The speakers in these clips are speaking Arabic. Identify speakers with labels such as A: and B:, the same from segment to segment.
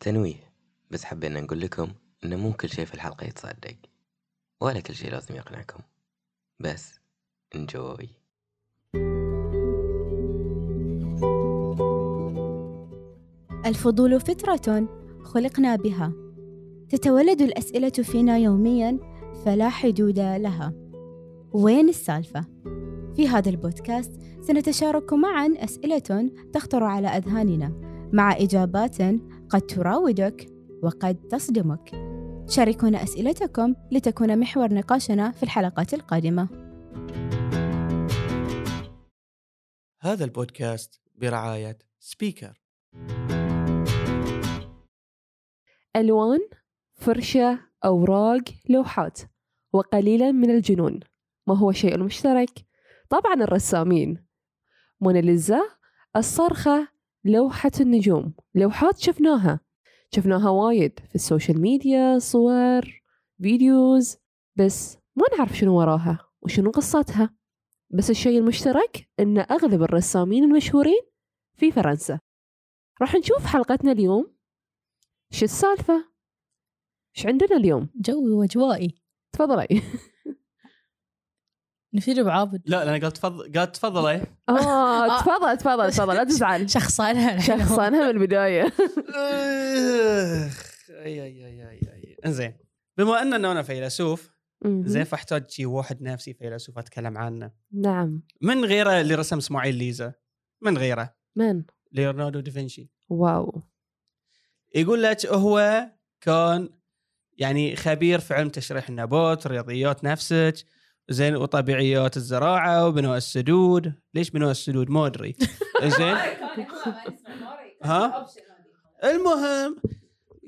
A: تنويه بس حبينا نقول لكم إنه مو كل شي في الحلقة يتصدق ولا كل شي لازم يقنعكم بس انجوي
B: الفضول فطرة خلقنا بها تتولد الأسئلة فينا يوميا فلا حدود لها وين السالفة؟ في هذا البودكاست سنتشارك معا أسئلة تخطر على أذهاننا مع إجابات قد تراودك وقد تصدمك شاركونا أسئلتكم لتكون محور نقاشنا في الحلقات القادمة
C: هذا البودكاست برعاية سبيكر
D: ألوان فرشة أوراق لوحات وقليلا من الجنون ما هو شيء المشترك طبعا الرسامين موناليزا الصرخة لوحة النجوم لوحات شفناها شفناها وايد في السوشيال ميديا صور فيديوز بس ما نعرف شنو وراها وشنو قصتها بس الشيء المشترك أن أغلب الرسامين المشهورين في فرنسا راح نشوف حلقتنا اليوم شو السالفة؟ شو عندنا اليوم؟
E: جوي واجوائي
D: تفضلي
E: نفيد بعابد
C: لا انا قالت تفضل إيه؟ قالت تفضلي
D: اه
E: آه.
D: تفضل تفضل تفضل لا تزعل
E: شخصانها
D: شخصا أنا من البداية
C: أخ، اي اي اي اي اي انزين بما ان انا فيلسوف زين فاحتاج شي واحد نفسي فيلسوف اتكلم عنه
D: نعم
C: من غيره اللي رسم اسماعيل ليزا من غيره
D: من
C: ليوناردو دافنشي
D: واو
C: يقول لك هو كان يعني خبير في علم تشريح النبات رياضيات نفسك زين وطبيعيات الزراعه وبناء السدود ليش بناء السدود ما ادري زين ها؟ المهم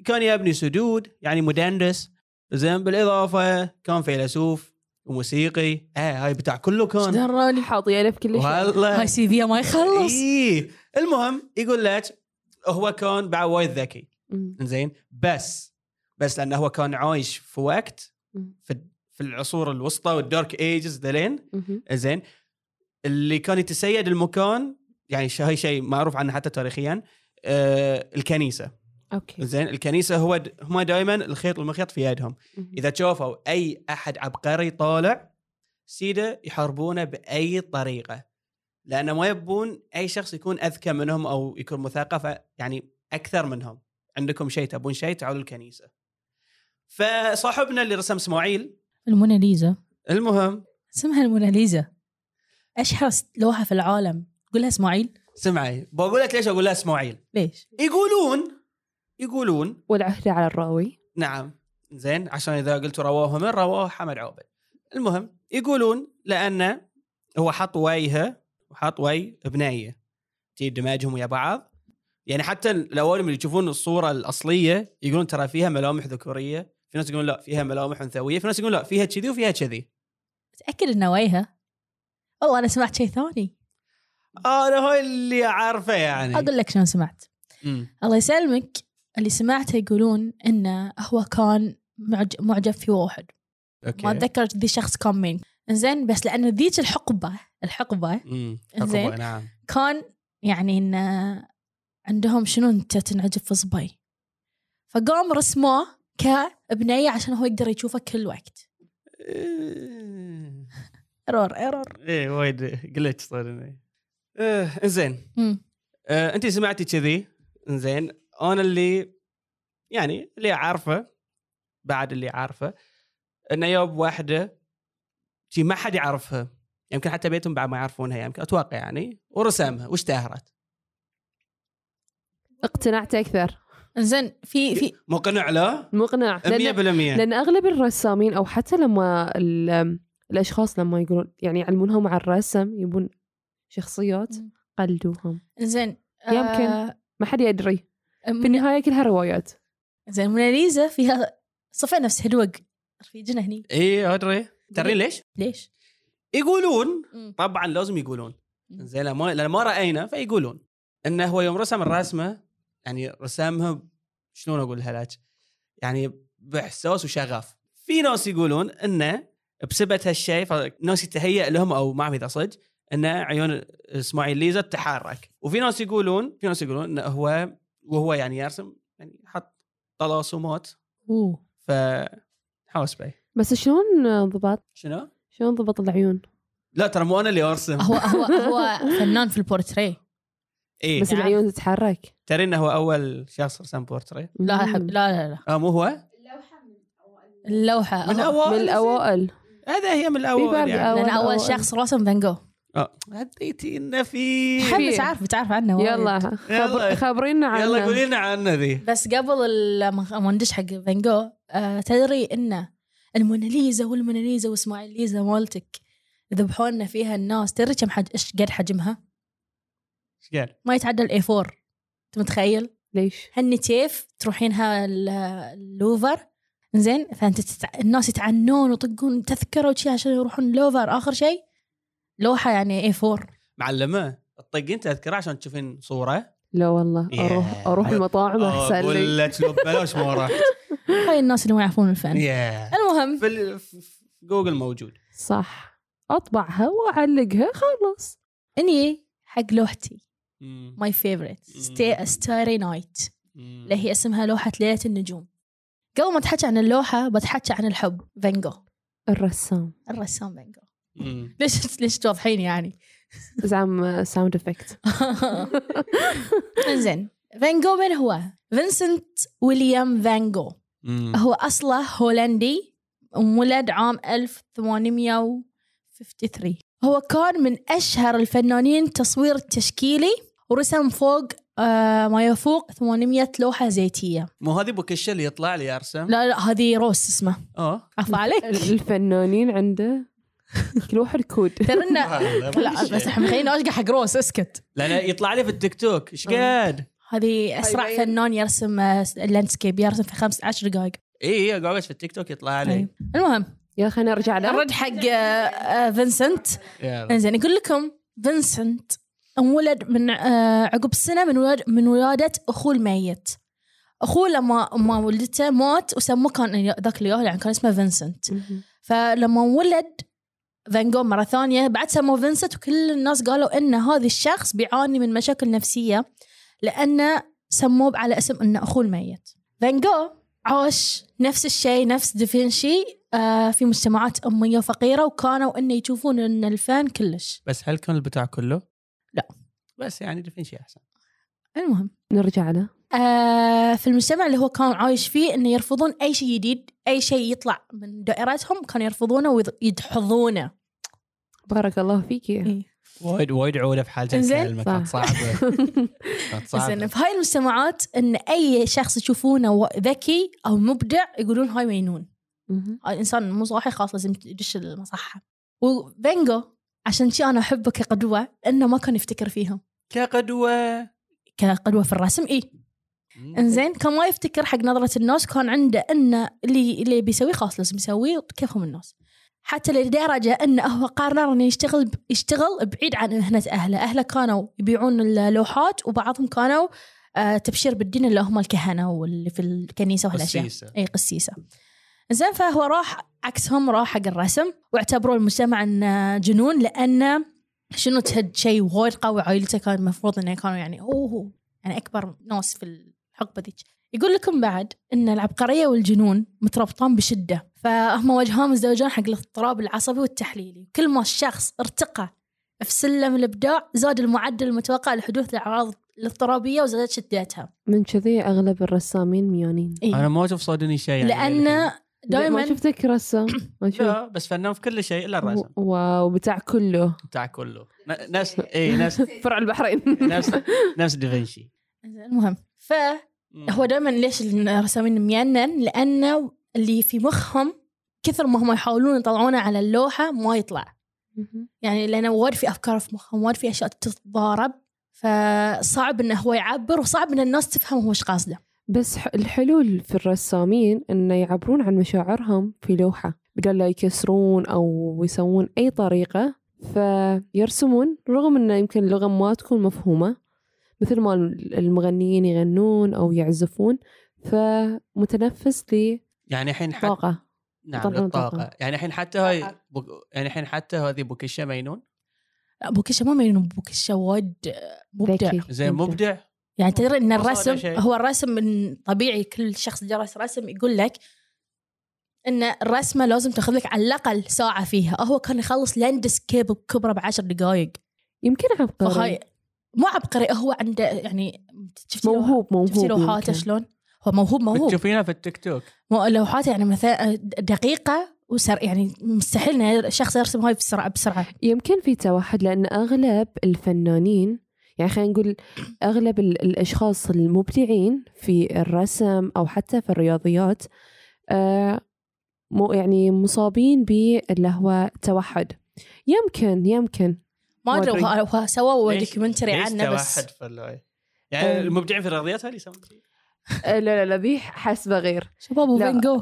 C: كان يبني سدود يعني مدندس زين بالاضافه كان فيلسوف وموسيقي آه هاي بتاع كله كان
E: دراني
D: حاطي ألف كل شيء
C: والله
E: هاي سي في ما يخلص
C: إيه. المهم يقول لك هو كان بعد وايد ذكي
D: مم.
C: زين بس بس لانه هو كان عايش في وقت
D: مم.
C: في في العصور الوسطى والدارك ايجز ذلين
D: مهم.
C: زين اللي كان يتسيد المكان يعني ش- هاي شيء معروف عنه حتى تاريخيا آه الكنيسه
D: اوكي
C: زين الكنيسه هو د- هم دائما الخيط والمخيط في يدهم
D: مهم.
C: اذا شافوا اي احد عبقري طالع سيده يحاربونه باي طريقه لانه ما يبون اي شخص يكون اذكى منهم او يكون مثقف يعني اكثر منهم عندكم شيء تبون شيء تعالوا الكنيسه فصاحبنا اللي رسم اسماعيل
E: الموناليزا
C: المهم
E: اسمها الموناليزا اشهر س- لوحه في العالم قولها اسماعيل
C: سمعي بقول لك ليش اقول له اسماعيل
E: ليش؟
C: يقولون يقولون
D: والعهدة على الراوي
C: نعم زين عشان اذا قلت رواه من رواه حمد عوبد المهم يقولون لانه هو حط ويها وحط وي بنيه تجيب دماجهم ويا بعض يعني حتى الاوائل اللي يشوفون الصوره الاصليه يقولون ترى فيها ملامح ذكوريه في ناس يقولون لا فيها ملامح انثويه في ناس يقولون لا فيها كذي وفيها كذي
E: متاكد انها وجهها او انا سمعت شيء ثاني
C: انا هاي اللي اعرفه
D: إيه.
C: يعني
E: اقول لك شلون سمعت
C: أمم.
E: الله يسلمك اللي سمعته يقولون انه هو كان معج- معجب في واحد
C: اوكي
E: ما اتذكر ذي الشخص كان مين زين بس لانه ذيك الحقبه الحقبه
C: أمم.
E: إنزين.
C: حقبة، نعم
E: كان يعني انه عندهم شنو انت تنعجب في صبي فقام رسموه كبنيه عشان هو يقدر يشوفه كل وقت ايرور ايرور
C: ايه وايد قلتش صار إيه، زين
E: مم.
C: آه، انت سمعتي كذي زين انا اللي يعني اللي عارفه بعد اللي عارفه انه يوب واحده شي ما حد يعرفها يمكن حتى بيتهم بعد ما يعرفونها يمكن اتوقع يعني ورسمها واشتهرت
D: اقتنعت اكثر
E: زين في في
C: مقنع لا
D: مقنع
C: 100%
D: لأن, لان اغلب الرسامين او حتى لما ال- الاشخاص لما يقولون يعني يعلمونهم على الرسم يبون شخصيات
E: مم.
D: قلدوهم
E: زين
D: يمكن. ما حد يدري في
E: آه
D: النهايه كلها روايات
E: زين موناليزا فيها صفة نفس هدوق رفيجنا هني
C: اي ادري إيه، ترين ليش؟
E: ليش؟
C: يقولون طبعا لازم يقولون
E: مم.
C: زين لما لما راينا فيقولون انه هو يوم رسم الرسمه يعني رسمها ب- شلون اقولها لك؟ يعني باحساس وشغف. في ناس يقولون انه بسبب هالشيء فناس يتهيأ لهم او ما اعرف اذا صدق ان عيون اسماعيل ليزا تتحرك، وفي ناس يقولون في ناس يقولون انه هو وهو يعني يرسم يعني حط طلاسمات
E: اوه
C: ف حوس بي
D: بس شلون ضبط
C: شنو؟
D: شلون ضبط العيون
C: لا ترى مو انا اللي ارسم
E: هو هو هو فنان في البورتريه
C: اي
D: بس
E: نعم.
D: العيون تتحرك
C: ترى انه هو اول شخص رسم بورتريه
E: لا
D: مم.
E: حب لا لا لا
C: اه مو هو؟
E: اللوحه
C: من
E: أول-
D: من
C: الاوائل
D: الاوائل
C: هذا هي من
D: في فرق
C: الاول يعني
E: لان
D: أول-
E: اول
D: أول.
E: شخص رسم فان جو
C: آه، اديتينا في
E: حبس عارف تعرف عنه وايد.
D: يلا
C: يلا.
D: خبر خبرينا
C: يلا
D: عنه
C: قولي لنا عنه ذي
E: بس قبل الم- ما ندش حق فان جو آه تدري انه الموناليزا والموناليزا واسماعيليزا مالتك ذبحونا فيها الناس تدري كم حج ايش قد حجمها؟
C: ايش قال؟
E: ما يتعدى الاي 4 انت متخيل؟
D: ليش
E: هني كيف تروحينها ال- اللوفر زين فانت تتع... الناس يتعنون ويطقون تذكره وشي عشان يروحون اللوفر اخر شيء لوحه يعني اي 4
C: معلمه تطقين انت اذكر عشان تشوفين آه، صوره
D: لا والله
C: يا.
D: اروح اروح المطاعم احسن
C: اقول
D: لي
C: لك لو ببلاش ما راح
E: هاي الناس اللي ما يعرفون الفن
C: يا.
E: المهم
C: في ال- في- في جوجل موجود
D: صح اطبعها واعلقها خلص
E: اني حق لوحتي
C: مم.
E: ماي فيفورت
C: مم.
E: ستاري نايت
C: مم.
E: اللي هي اسمها لوحة ليلة النجوم قبل ما اتحكي عن اللوحة بتحكي عن الحب فان جوغ
D: الرسام
E: الرسام فان جوغ
C: مم.
E: ليش ليش توضحين يعني
D: زعم ساوند افكت
E: زين فان جوغ من هو فينسنت ويليام فان جوغ
C: مم.
E: هو أصله هولندي انولد عام 1853 هو كان من أشهر الفنانين التصوير التشكيلي ورسم فوق آه، ما يفوق 800 لوحة زيتية
C: مو هذه بوكشة اللي يطلع لي ارسم
E: لا لا هذه روس اسمه
C: اه
E: عفوا عليك
D: الفنانين عنده كل واحد كود
E: ترى إنه-
C: والله
E: لا
C: بوكشة.
E: بس احنا خلينا اشقى حق روس اسكت
C: لا لا يطلع لي في التيك توك ايش قد؟
E: هذه اسرع
C: طيب.
E: فنان يرسم آه، لاندسكيب يرسم في خمس عشر دقائق
C: اي اي إيه، قاعد في التيك توك يطلع لي
E: طيب. المهم
D: يلا خلينا نرجع له
E: الرد حق آه، آه، فينسنت
C: يلا
E: انزين اقول لكم فينسنت انولد من آه، عقب سنه من ولاد من ولاده اخوه الميت اخوه لما ما ولدته مات وسموه كان ذاك اليوم يعني كان اسمه فينسنت
D: مهم.
E: فلما ولد فان جوغ مرة ثانية بعد سموه فينسنت وكل الناس قالوا إن هذا الشخص بيعاني من مشاكل نفسية لأنه سموه على اسم إنه أخوه الميت فان جوغ عاش نفس الشيء نفس دافنشي آه، في مجتمعات أمية فقيرة وكانوا إنه يشوفون إن الفن كلش
C: بس هل كان البتاع كله؟
E: لا.
C: بس يعني دافنشي احسن
E: المهم
D: نرجع له
E: آه، في المجتمع اللي هو كان عايش فيه إنه يرفضون أي شيء جديد أي شيء يطلع من دائرتهم كانوا يرفضونه ويدحضونه
D: بارك الله
E: إيه.
D: فيك
C: وايد وايد عوله في حالته
E: إنزين.
C: الكلمه كانت
D: صح.
C: صعبه كانت
E: زين
C: صعبه
E: في هاي المجتمعات ان اي شخص يشوفونه و- ذكي او مبدع يقولون هاي مجنون
D: مهم.
E: هاي الانسان مو صاحي خلاص لازم يدش المصحه وبنجو عشان شي انا احبه كقدوه انه ما كان يفتكر فيهم
C: كقدوه
E: كقدوه في الرسم إيه. اي انزين كان ما يفتكر حق نظره الناس كان عنده انه اللي اللي بيسويه خلاص لازم يسويه كيفهم الناس حتى لدرجه انه هو قرر انه يشتغل ب- يشتغل بعيد عن مهنه اهله، اهله كانوا يبيعون اللوحات وبعضهم كانوا آه، تبشير بالدين اللي هم الكهنه واللي في الكنيسه وهالاشياء.
C: قسيسة.
E: اي قسيسه. إيه، زين فهو راح عكسهم راح حق الرسم واعتبروا المجتمع انه جنون لانه شنو تهد شيء وايد قوي عائلته كان المفروض انه كانوا يعني اوه يعني اكبر ناس في الحقبه ذيك. يقول لكم بعد ان العبقريه والجنون مترابطان بشده فهم وجهان مزدوجان حق الاضطراب العصبي والتحليلي كل ما الشخص ارتقى في سلم الابداع زاد المعدل المتوقع لحدوث الاعراض الاضطرابيه وزادت شدتها
D: من كذي اغلب الرسامين ميانين
C: انا
E: إيه؟
C: ما اشوف صادني شيء يعني
E: لان
D: ما
E: دائما
D: شفتك رسام ما شفت
C: لا بس فنان في كل شيء الا الرسم
D: واو بتاع كله
C: بتاع كله ن- نفس اي نفس
D: فرع البحرين
C: نفس نفس دافنشي
E: المهم فهو دائما ليش الرسامين ميانن لانه اللي في مخهم كثر ما هم يحاولون يطلعونه على اللوحه ما يطلع
D: مهم.
E: يعني لانه وايد في افكار في مخهم وايد في اشياء تتضارب فصعب انه هو يعبر وصعب ان الناس تفهم هو ايش قاصده
D: بس ح- الحلول في الرسامين انه يعبرون عن مشاعرهم في لوحه بدل لا يكسرون او يسوون اي طريقه فيرسمون رغم انه يمكن اللغه ما تكون مفهومه مثل ما ال- المغنيين يغنون او يعزفون فمتنفس
C: يعني الحين حتى
D: لطاقه
C: نعم
D: يطلعون
C: الطاقه
D: طاقة.
C: يعني الحين حتى هاي بو- يعني الحين حتى هذه بوكيشا مينون
E: لا بوكيشا ما مجنون بوكيشا وايد مبدع
D: ذكي
C: زين مبدع
E: يعني تدري ان
C: وصلت
E: الرسم
C: لشيء.
E: هو الرسم من طبيعي كل شخص درس رسم يقول لك ان الرسمه لازم تاخذ لك على الاقل ساعه فيها هو كان يخلص لاندسكيب بكبره بعشر دقائق
D: يمكن عبقري
E: فهاي مو عبقري هو عنده يعني شفت
D: موهوب موهوب
E: شفتي لوحاته
D: يمكن.
E: شلون؟ هو موهوب موهوب
C: تشوفينها في التيك توك
E: مو لوحاته يعني مثلا دقيقه وسر يعني مستحيل ان شخص يرسم هاي بسرعه بسرعه
D: يمكن في توحد لأن أغلب الفنانين يعني خلينا نقول أغلب ال- الأشخاص المبدعين في الرسم أو حتى في الرياضيات آه، مو يعني مصابين باللي هو توحد يمكن يمكن
E: ما ادري
D: ما أدري.
E: وه- وه- سووا
C: ليش-
E: دوكيومنتري
C: ليش
E: عنه بس
C: توحد في ال- يعني
D: أم.
C: المبدعين في الرياضيات هل يسمون فيه؟
D: آه، لا لا لا ذي حسبة غير
E: شباب
D: لا.
E: وفان جو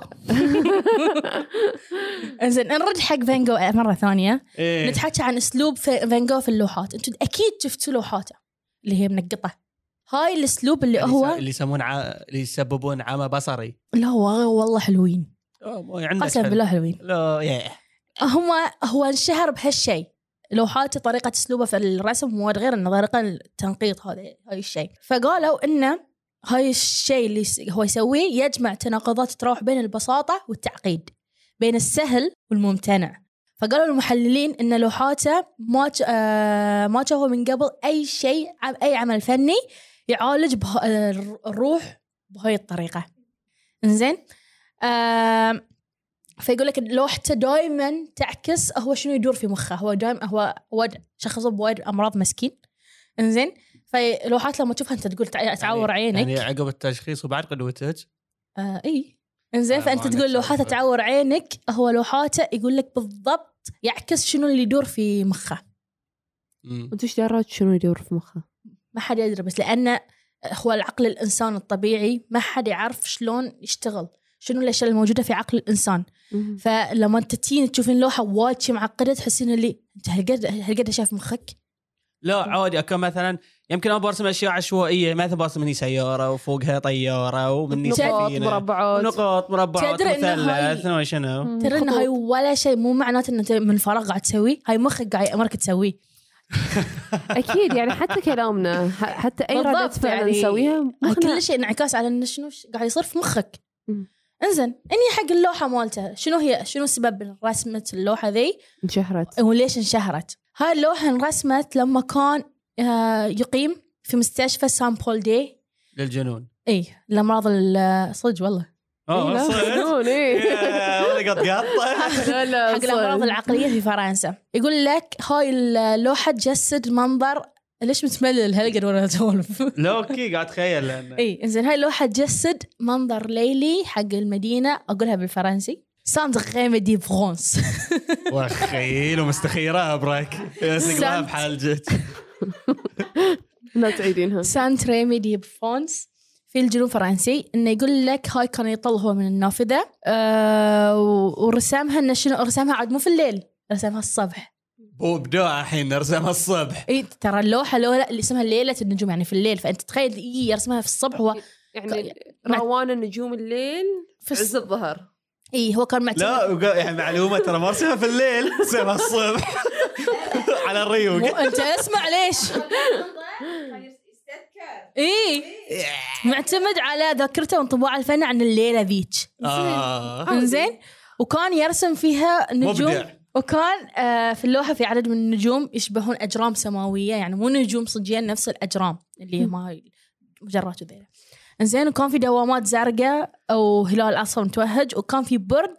E: انزين نرجع حق فان جو مره ثانيه
C: إيه.
E: نتحكى عن اسلوب في- فان جو في اللوحات انتم اكيد شفتوا لوحاته اللي هي منقطه هاي الاسلوب اللي
C: اللي يس-
E: هو
C: اللي يسمون ع... اللي يسببون عمى بصري
E: لا هو- والله حلوين
C: أوه، مو- عندك
E: قسم
C: حل.
E: بالله حلوين
C: لا يا
E: هم هو انشهر بهالشيء لوحاته طريقة اسلوبه في الرسم مو غير انه طريقة التنقيط هذا هاي الشيء فقالوا انه هاي الشيء اللي يس- هو يسويه يجمع تناقضات تروح بين البساطة والتعقيد بين السهل والممتنع فقالوا المحللين ان لوحاته ما ج- آه، ما شافوا من قبل اي شيء عم- اي عمل فني يعالج به- آه، الروح بهاي الطريقة انزين آم، فيقول لك لوحته دائما تعكس هو شنو يدور في مخه هو دائما هو واد شخص بوايد امراض مسكين انزين فلوحات لما تشوفها انت تقول تع- تعور عينك
C: يعني عقب التشخيص وبعد قدوتك
E: آه اي انزين
C: آه، ما
E: فانت
C: عندك
E: تقول لوحاته
C: سالفة.
E: تعور عينك هو لوحاته يقول لك بالضبط يعكس شنو اللي يدور في مخه
C: أمم.
D: أنت إيش درات شنو يدور في مخه
E: ما حد يدري بس لانه هو العقل الانسان الطبيعي ما حد يعرف شلون يشتغل شنو الاشياء الموجوده في عقل الانسان فلما انت تجين تشوفين لوحه وايد شي معقده تحسين اللي انت هالقد هالقد شايف مخك
C: لا عادي اكون مثلا يمكن انا برسم اشياء عشوائيه مثلا برسم مني سياره وفوقها طياره ومني
D: نقاط
C: سفينه
D: مربعات
C: نقاط مربعات
E: تدري إن هاي-
C: مثلث ما شنو
D: مم،
E: ترى ان هاي
D: خطوط.
E: ولا شيء مو معناته ان انت من فراغ قاعد تسويه هاي مخك قاعد يامرك تسويه
D: اكيد يعني حتى كلامنا ح- حتى اي
E: بالضبط،
D: ردة فعل
E: يعني
D: نسويها
E: هاي
D: مخنا-
E: كل شيء انعكاس على انه شنو ش- قاعد يصير في مخك
D: مم.
E: انزين اني حق اللوحه مالته شنو هي شنو سبب رسمه اللوحه ذي
D: انشهرت
E: وليش انشهرت هاي اللوحه انرسمت لما كان آه، يقيم في مستشفى سان بول دي
C: للجنون
E: اي الامراض ال- صدق والله
D: إيه،
C: اه
D: لا،
C: صدق؟
D: فنون، إيه.
C: يا، ولا قط قطه
D: لا لا
E: حق الامراض
D: صدق.
E: العقليه في فرنسا يقول لك هاي اللوحه تجسد منظر ليش متملل هلقد وانا اسولف
C: لا اوكي قاعد اتخيل لأن-
E: اي انزين إيه، هاي اللوحه تجسد منظر ليلي حق المدينه اقولها بالفرنسي ساند غيمي دي فرونس
C: وخيل ومستخيره ابرك سقلها
E: سمت.
C: بحالجك
D: لا تعيدينها
E: سانت ريمي دي فرونس في الجنوب الفرنسي انه يقول لك هاي كان يطل هو من النافذه أه و- ورسامها انه شنو رسامها عاد مو في الليل رسمها الصبح
C: بو بدوع الحين نرسمها الصبح
E: اي ترى اللوحه لولا اللي اسمها ليله النجوم يعني في الليل فانت تخيل إيه يرسمها في الصبح هو
D: يعني روان النجوم الليل
E: في الص-
D: الظهر
E: اي هو كان معتمد
C: لا وقا- يعني معلومه ترى ما ارسمها في الليل ارسمها الصبح على
E: مو
C: الريوق
E: انت اسمع ليش اي إيه. معتمد على ذاكرته وانطباعه الفني عن الليله ذيك
C: آه.
E: انزين وكان يرسم فيها نجوم
C: مبدع.
E: وكان آه، في اللوحه في عدد من النجوم يشبهون اجرام سماويه يعني مو نجوم صجيا نفس الاجرام اللي ما هي مجرات وذيلا انزين وكان في دوامات زرقاء او هلال اصفر متوهج وكان في برج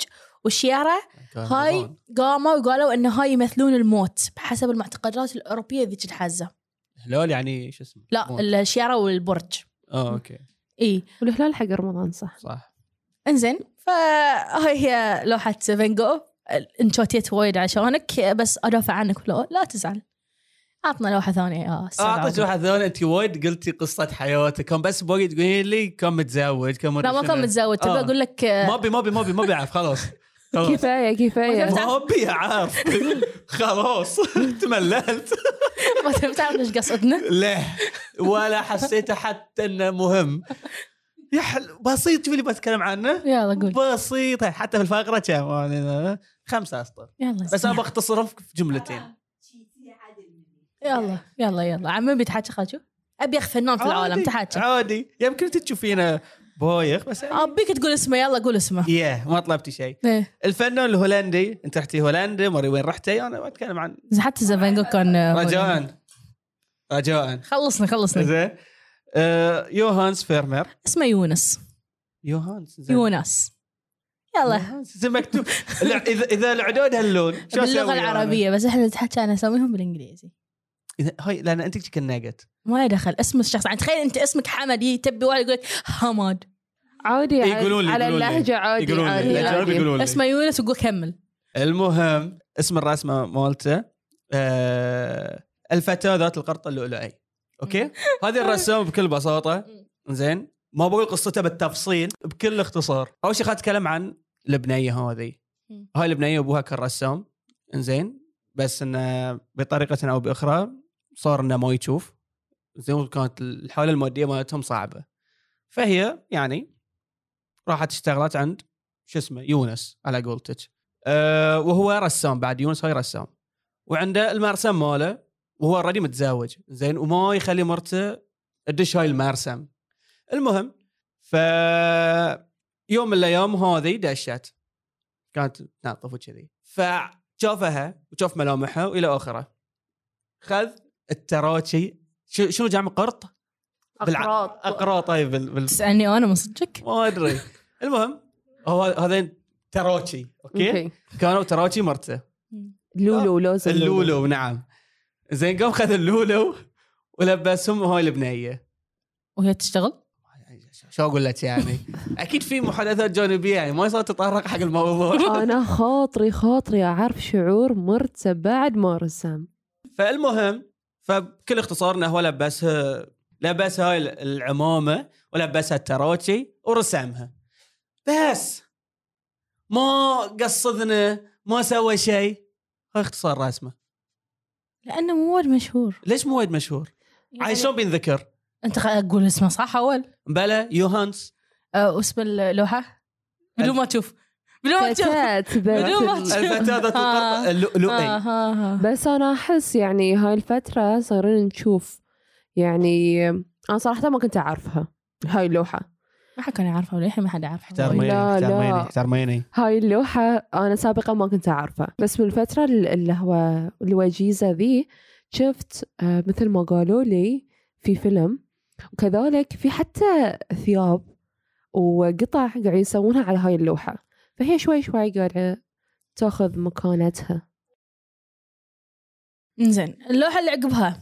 E: وشياره هاي قاموا وقالوا ان هاي يمثلون الموت بحسب المعتقدات الاوروبيه ذيك الحازه
C: هلول يعني شو اسمه
E: لا الشياره والبرج
C: اه اوكي
E: اي
D: والهلال حق رمضان صح
C: صح
E: انزين فهاي هي لوحه فان جو انشوتيت وايد عشانك بس ادافع عنك لا, لا تزعل عطنا آه، لوحه ثانيه يا أستاذ
C: اعطيت
E: عادل.
C: واحد ثاني انت وايد قلتي قصه حياتك كان بس باقي تقولين لي كان متزوج كان
E: لا ما كان متزوج تبى
C: آه.
E: اقول لك
C: ما ابي ما ابي ما ابي ما ابي اعرف خلاص خلاص
D: كفايه كفايه
E: وقفت-
C: ما ابي اعرف خلاص تمللت
E: ما تبي تعرف ايش قصدنا
C: لا ولا حسيته حتى انه مهم يا حل بسيط شوف اللي بتكلم عنه
E: يلا قول
C: بسيطة حتى في الفقرة كم يعني خمسة أسطر
E: يلا
C: بس أنا
E: آه.
C: بختصرها في جملتين
E: يلا يلا يلا عمي بيتحكى خاشو ابيخ فنان في العالم
C: عادي،
E: تحاكي
C: عادي يمكن تشوفينه بويخ بس
E: ابيك تقول اسمه يلا قول اسمه
C: ياه ما طلبتي شيء
E: ايه
C: الفنان الهولندي انت رحتي هولندا مري وين رحتي انا ما اتكلم عن
E: زين حتى زفنجو كان
C: رجاء رجاء
E: خلصنا خلصنا
C: زين آه، يوهانس فيرمر
E: اسمه يونس
C: يوهانس زين.
E: يونس يلا
C: يوهانس زين مكتوب الع- اذا اذا العدود هاللون شو أسوي
E: باللغه
C: أنا؟
E: العربيه بس احنا نتحكى انا اسويهم بالانجليزي
C: إذا- هاي لان انت تشكل ناقت
E: ما له دخل اسم الشخص يعني تخيل انت اسمك حمد يجي تبي واحد يقول لك حمد
D: عادي على-
C: يقولون لي-
D: على
C: يقولون لي.
D: اللهجه عادي
C: يقولون لي.
D: عادي,
E: الأجانب
D: عادي.
C: يقولون لي.
E: يعني اسمه يونس وقول كمل
C: المهم اسم الرسمه مالته آه، الفتاه ذات القرطه اللؤلؤي اوكي هذه الرسام بكل بساطه زين ما بقول قصته بالتفصيل بكل اختصار اول شيء خلينا اتكلم عن البنيه هذه
E: مم.
C: هاي البنيه ابوها كان رسام زين بس انه بطريقه او باخرى صار انه ما يشوف زين وكانت الحاله الماديه مالتهم صعبه فهي يعني راحت اشتغلت عند شو اسمه يونس على قولتك أه وهو رسام بعد يونس هاي رسام وعنده المرسم ماله وهو اوريدي متزوج زين وما يخلي مرته تدش هاي المرسم المهم ف يوم من الايام هذه دشت كانت تنظف وكذي فشافها وشاف ملامحها والى اخره خذ التراتشي شو- شنو جمع قرط؟ بالع-
D: اقراط
C: اقراط طيب بال... بال...
E: تسالني انا من صدقك
C: ما ادري المهم هو هذين تراتشي اوكي
D: أوكي.
C: كانوا تراتشي مرته
D: لولو لوز
C: اللولو نعم زين قام خذ اللولو ولبسهم هاي البنيه
E: وهي تشتغل
C: شو اقول لك يعني اكيد في محادثات جانبيه يعني ما يصير تطرق حق الموضوع
D: انا خاطري خاطري اعرف شعور مرته بعد ما رسم
C: فالمهم فبكل اختصار انه هو لبسها لبس هاي العمامه ولبسها التراتشي ورسمها بس ما قصدنا ما سوى شيء هاي اختصار رسمه
E: لانه مو وايد مشهور
C: ليش مو وايد مشهور؟ يعني شلون بينذكر؟
E: انت خ- قول اسمه صح اول
C: بلا يوهانس
E: أه، واسم اللوحه بدون ما تشوف بدون ما تشوف
D: فتاة
E: بدون ما
D: بس
E: تشوف.
C: الفتاة
D: Ah.
C: ذات القرطة
E: آه. آه،
C: اللؤلؤي
E: ها، ها.
D: بس انا احس يعني هاي الفتره صايرين نشوف يعني انا صراحه ما كنت اعرفها هاي اللوحه
E: ما حد كان يعرفها وللحين ما حد يعرفها
D: احترمي. لا، لا.
C: احترميني
D: هاي اللوحة أنا سابقا ما كنت أعرفها بس بالفترة ال- اللي هو الوجيزة ذي شفت آه، مثل ما قالوا لي في فيلم وكذلك في حتى ثياب وقطع قاعد يسوونها على هاي اللوحة فهي شوي شوي قاعدة تاخذ مكانتها
E: زين اللوحه اللي عقبها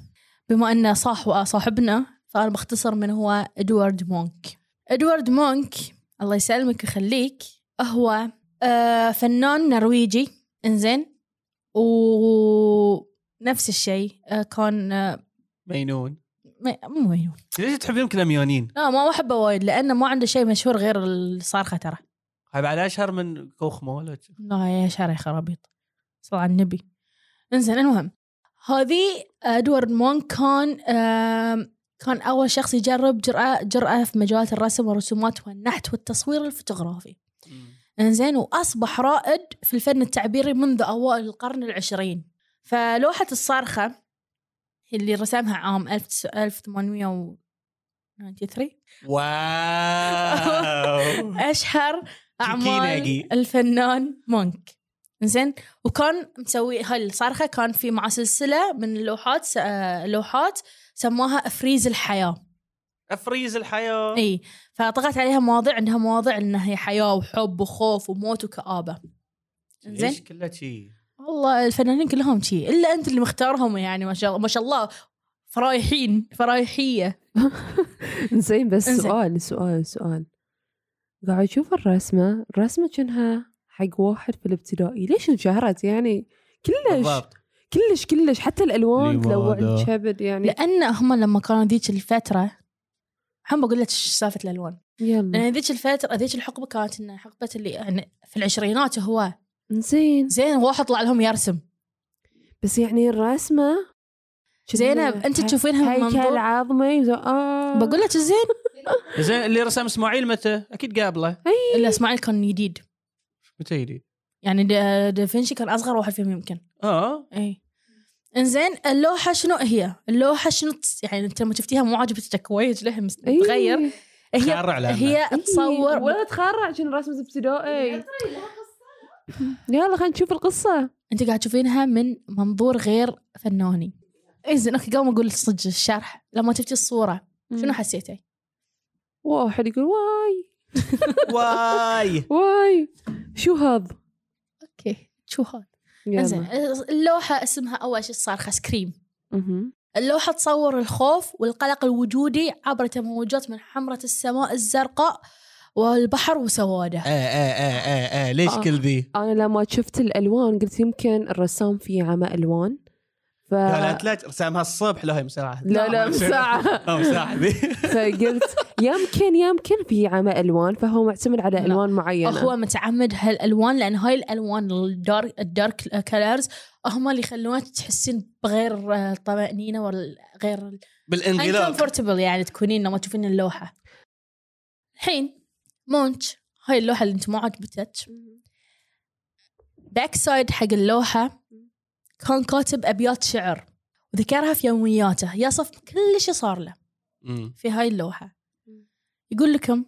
E: بما انه صاح وصاحبنا فانا بختصر من هو ادوارد مونك ادوارد مونك الله يسلمك ويخليك هو آه، فنان نرويجي انزين ونفس الشيء آه، كان آه،
C: مينون
E: ما- مو مينون.
C: ليش تحبين كلاميونين؟
E: لا ما احبه وايد لانه ما عنده شيء مشهور غير الصارخه ترى
C: هاي بعد اشهر من كوخمو ولا شي.
E: لا يا شارع خرابيط صلى على النبي انزين المهم هذه ادوارد مون كان آم، كان اول شخص يجرب جرأة جرأة في مجالات الرسم والرسومات والنحت والتصوير الفوتوغرافي انزين واصبح رائد في الفن التعبيري منذ اوائل القرن العشرين فلوحة الصارخة اللي رسمها عام 1893
C: واو
E: اشهر
C: جي.
E: اعمال الفنان مونك زين وكان مسوي هاي الصرخه كان في مع سلسله من اللوحات آه، لوحات سموها افريز الحياه
C: افريز الحياه
D: إيه.
E: اي فطغت عليها مواضيع عندها مواضيع انها هي حياه وحب وخوف وموت وكابه
C: ليش
E: زين
C: كله شي
E: والله الفنانين كلهم شي الا انت اللي مختارهم يعني ما شاء الله ما شاء الله فرايحين فرايحيه
D: زين بس
E: إنزين.
D: سؤال سؤال سؤال قاعد أشوف الرسمة الرسمة كأنها حق واحد في الابتدائي ليش انشهرت يعني كلش
C: بالضبط
D: كلش كلش حتى الالوان
C: لماذا؟
D: تلوع الكبد يعني
E: لان هم لما كانوا ذيك الفتره هم بقول لك إيش سالفه الالوان
D: يلا
E: لان ذيك الفتره ذيك الحقبه كانت إن حقبه اللي يعني في العشرينات هو
D: زين
E: زين واحد طلع لهم يرسم
D: بس يعني الرسمه
E: زينب انت تشوفينها من
D: هيكل
E: منظور
D: عظمي وز- آه.
E: بقول لك زين
C: زين اللي رسم اسماعيل متى؟ اكيد قابله
E: اللي اسماعيل كان جديد
C: متى يدي؟
D: إيه.
E: يعني دا- دافنشي كان اصغر واحد فيهم يمكن
C: اه
E: اي انزين اللوحه شنو هي؟ اللوحه شنو تس- يعني انت لما شفتيها مو عاجبتك وايد لها مس- تغير
D: إيه.
E: هي
C: تخرع لها
E: هي
D: إيه.
E: تصور
D: ولا تخرع عشان رسمة ابتدائي يلا خلينا نشوف القصة
E: انت قاعد تشوفينها من منظور غير فناني انزين اوكي قبل ما اقول صدق الشرح لما شفتي الصوره شنو حسيتي؟
D: واحد يقول واي
C: واي
D: واي شو هذا
E: اوكي شو هذا؟
D: يلا.
E: انزين اللوحه اسمها اول شيء صارخه سكريم
D: مهم.
E: اللوحة تصور الخوف والقلق الوجودي عبر تموجات من حمرة السماء الزرقاء والبحر وسواده
C: آه آه آه آه آه ليش
D: آه.
C: كل ذي؟
D: أنا لما شفت الألوان قلت يمكن الرسام فيه عمى ألوان ف...
C: لا لا لا رسامها الصبح لا هي مساعة
D: آه. لا لا مساعة
C: لا مساعة ذي
D: فقلت يمكن يمكن في عمى ألوان فهو معتمد على
E: لا.
D: ألوان معينة
E: هو متعمد هالالوان لان هاي الالوان الدارك الدارك كلرز هم اللي يخلونك تحسين بغير آه، طمانينه ولا غير
C: بالانغلاق
E: uncomfortable يعني تكونين لما تشوفين اللوحه الحين مونش هاي اللوحه اللي انت ما عجبتك باك سايد حق اللوحه كان كاتب ابيات شعر وذكرها في يومياته يصف كل شيء صار له
C: مم.
E: في هاي اللوحة يقول لكم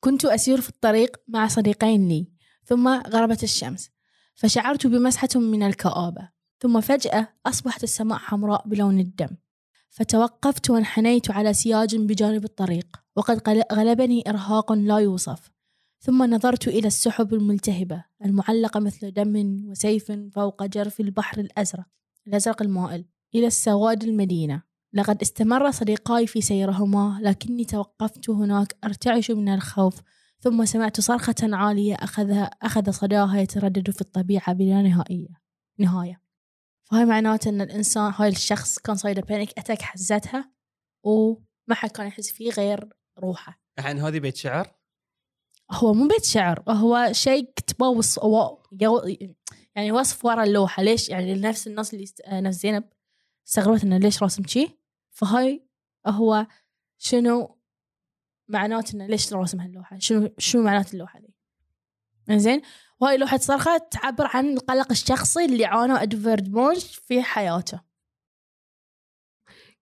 E: كنت أسير في الطريق مع صديقين لي ثم غربت الشمس فشعرت بمسحة من الكآبة ثم فجأة أصبحت السماء حمراء بلون الدم فتوقفت وانحنيت على سياج بجانب الطريق وقد قل- غلبني إرهاق لا يوصف ثم نظرت إلى السحب الملتهبة المعلقة مثل دم وسيف فوق جرف البحر الأزرق الأزرق المائل إلى السواد المدينة لقد استمر صديقاي في سيرهما لكني توقفت هناك أرتعش من الخوف ثم سمعت صرخة عالية أخذها أخذ صداها يتردد في الطبيعة بلا نهائية نهاية فهاي معناته أن الإنسان هاي الشخص كان صايده بانيك أتاك حزتها وما حد كان يحس فيه غير روحه
C: عن هذه بيت شعر
E: هو مو بيت شعر هو شيء كتبه وص... و- يو- يعني وصف ورا اللوحة ليش يعني نفس الناس اللي است... آه، نفس زينب استغربت انه ليش راسم شي فهاي هو شنو معناته انه ليش راسم هاللوحه شنو شنو معنات اللوحه دي انزين وهاي لوحه صرخه تعبر عن القلق الشخصي اللي عانى ادفارد مونش في حياته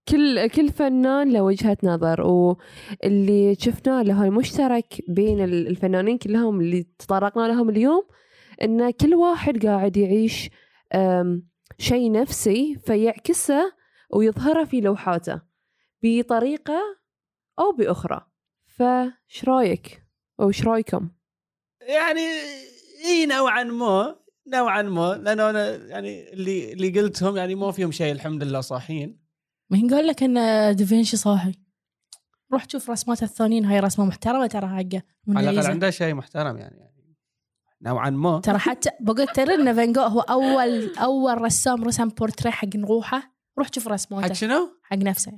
D: كل كل فنان له وجهة نظر واللي شفناه له المشترك بين ال- الفنانين كلهم اللي تطرقنا لهم اليوم ان كل واحد قاعد يعيش أم، شيء نفسي فيعكسه ويظهره في لوحاته بطريقة أو بأخرى فش رايك أو ش رايكم
C: يعني اي نوعا ما نوعا ما لانه انا يعني اللي اللي قلتهم يعني ما فيهم شيء الحمد لله صاحيين
E: مين قال لك ان دافنشي صاحي روح شوف رسمات الثانيين هاي رسمه محترمه ترى حقه
C: على الاقل
E: موناليزا.
C: عنده شيء محترم يعني, يعني نوعا ما
E: ترى حتى بقول ترى ان فان جوغ هو اول اول رسام رسم بورتريه حق روحه روح شوف
C: حق
E: رسماته
C: شنو؟
E: حق نفسه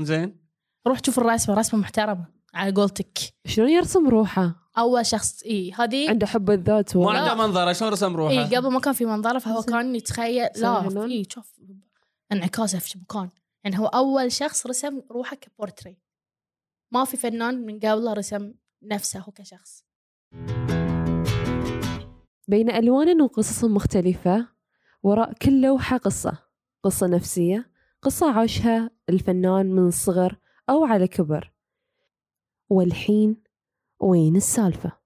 C: زين
E: روح شوف الرسمه رسمه محترمه على قولتك
D: شلون يرسم روحه
E: اول شخص اي هذه
D: عنده حب الذات
C: ما
D: و...
C: عنده منظره شلون رسم روحه؟
E: اي قبل ما كان في منظره فهو
D: زين.
E: كان يتخيل لا
D: زين.
E: في شوف انعكاسه في مكان يعني هو اول شخص رسم روحه كبورتري ما في فنان من قبله رسم نفسه هو كشخص
D: بين ألوان وقصص مختلفة وراء كل لوحة قصة قصة نفسية قصة عاشها الفنان من الصغر أو على كبر والحين وين السالفة؟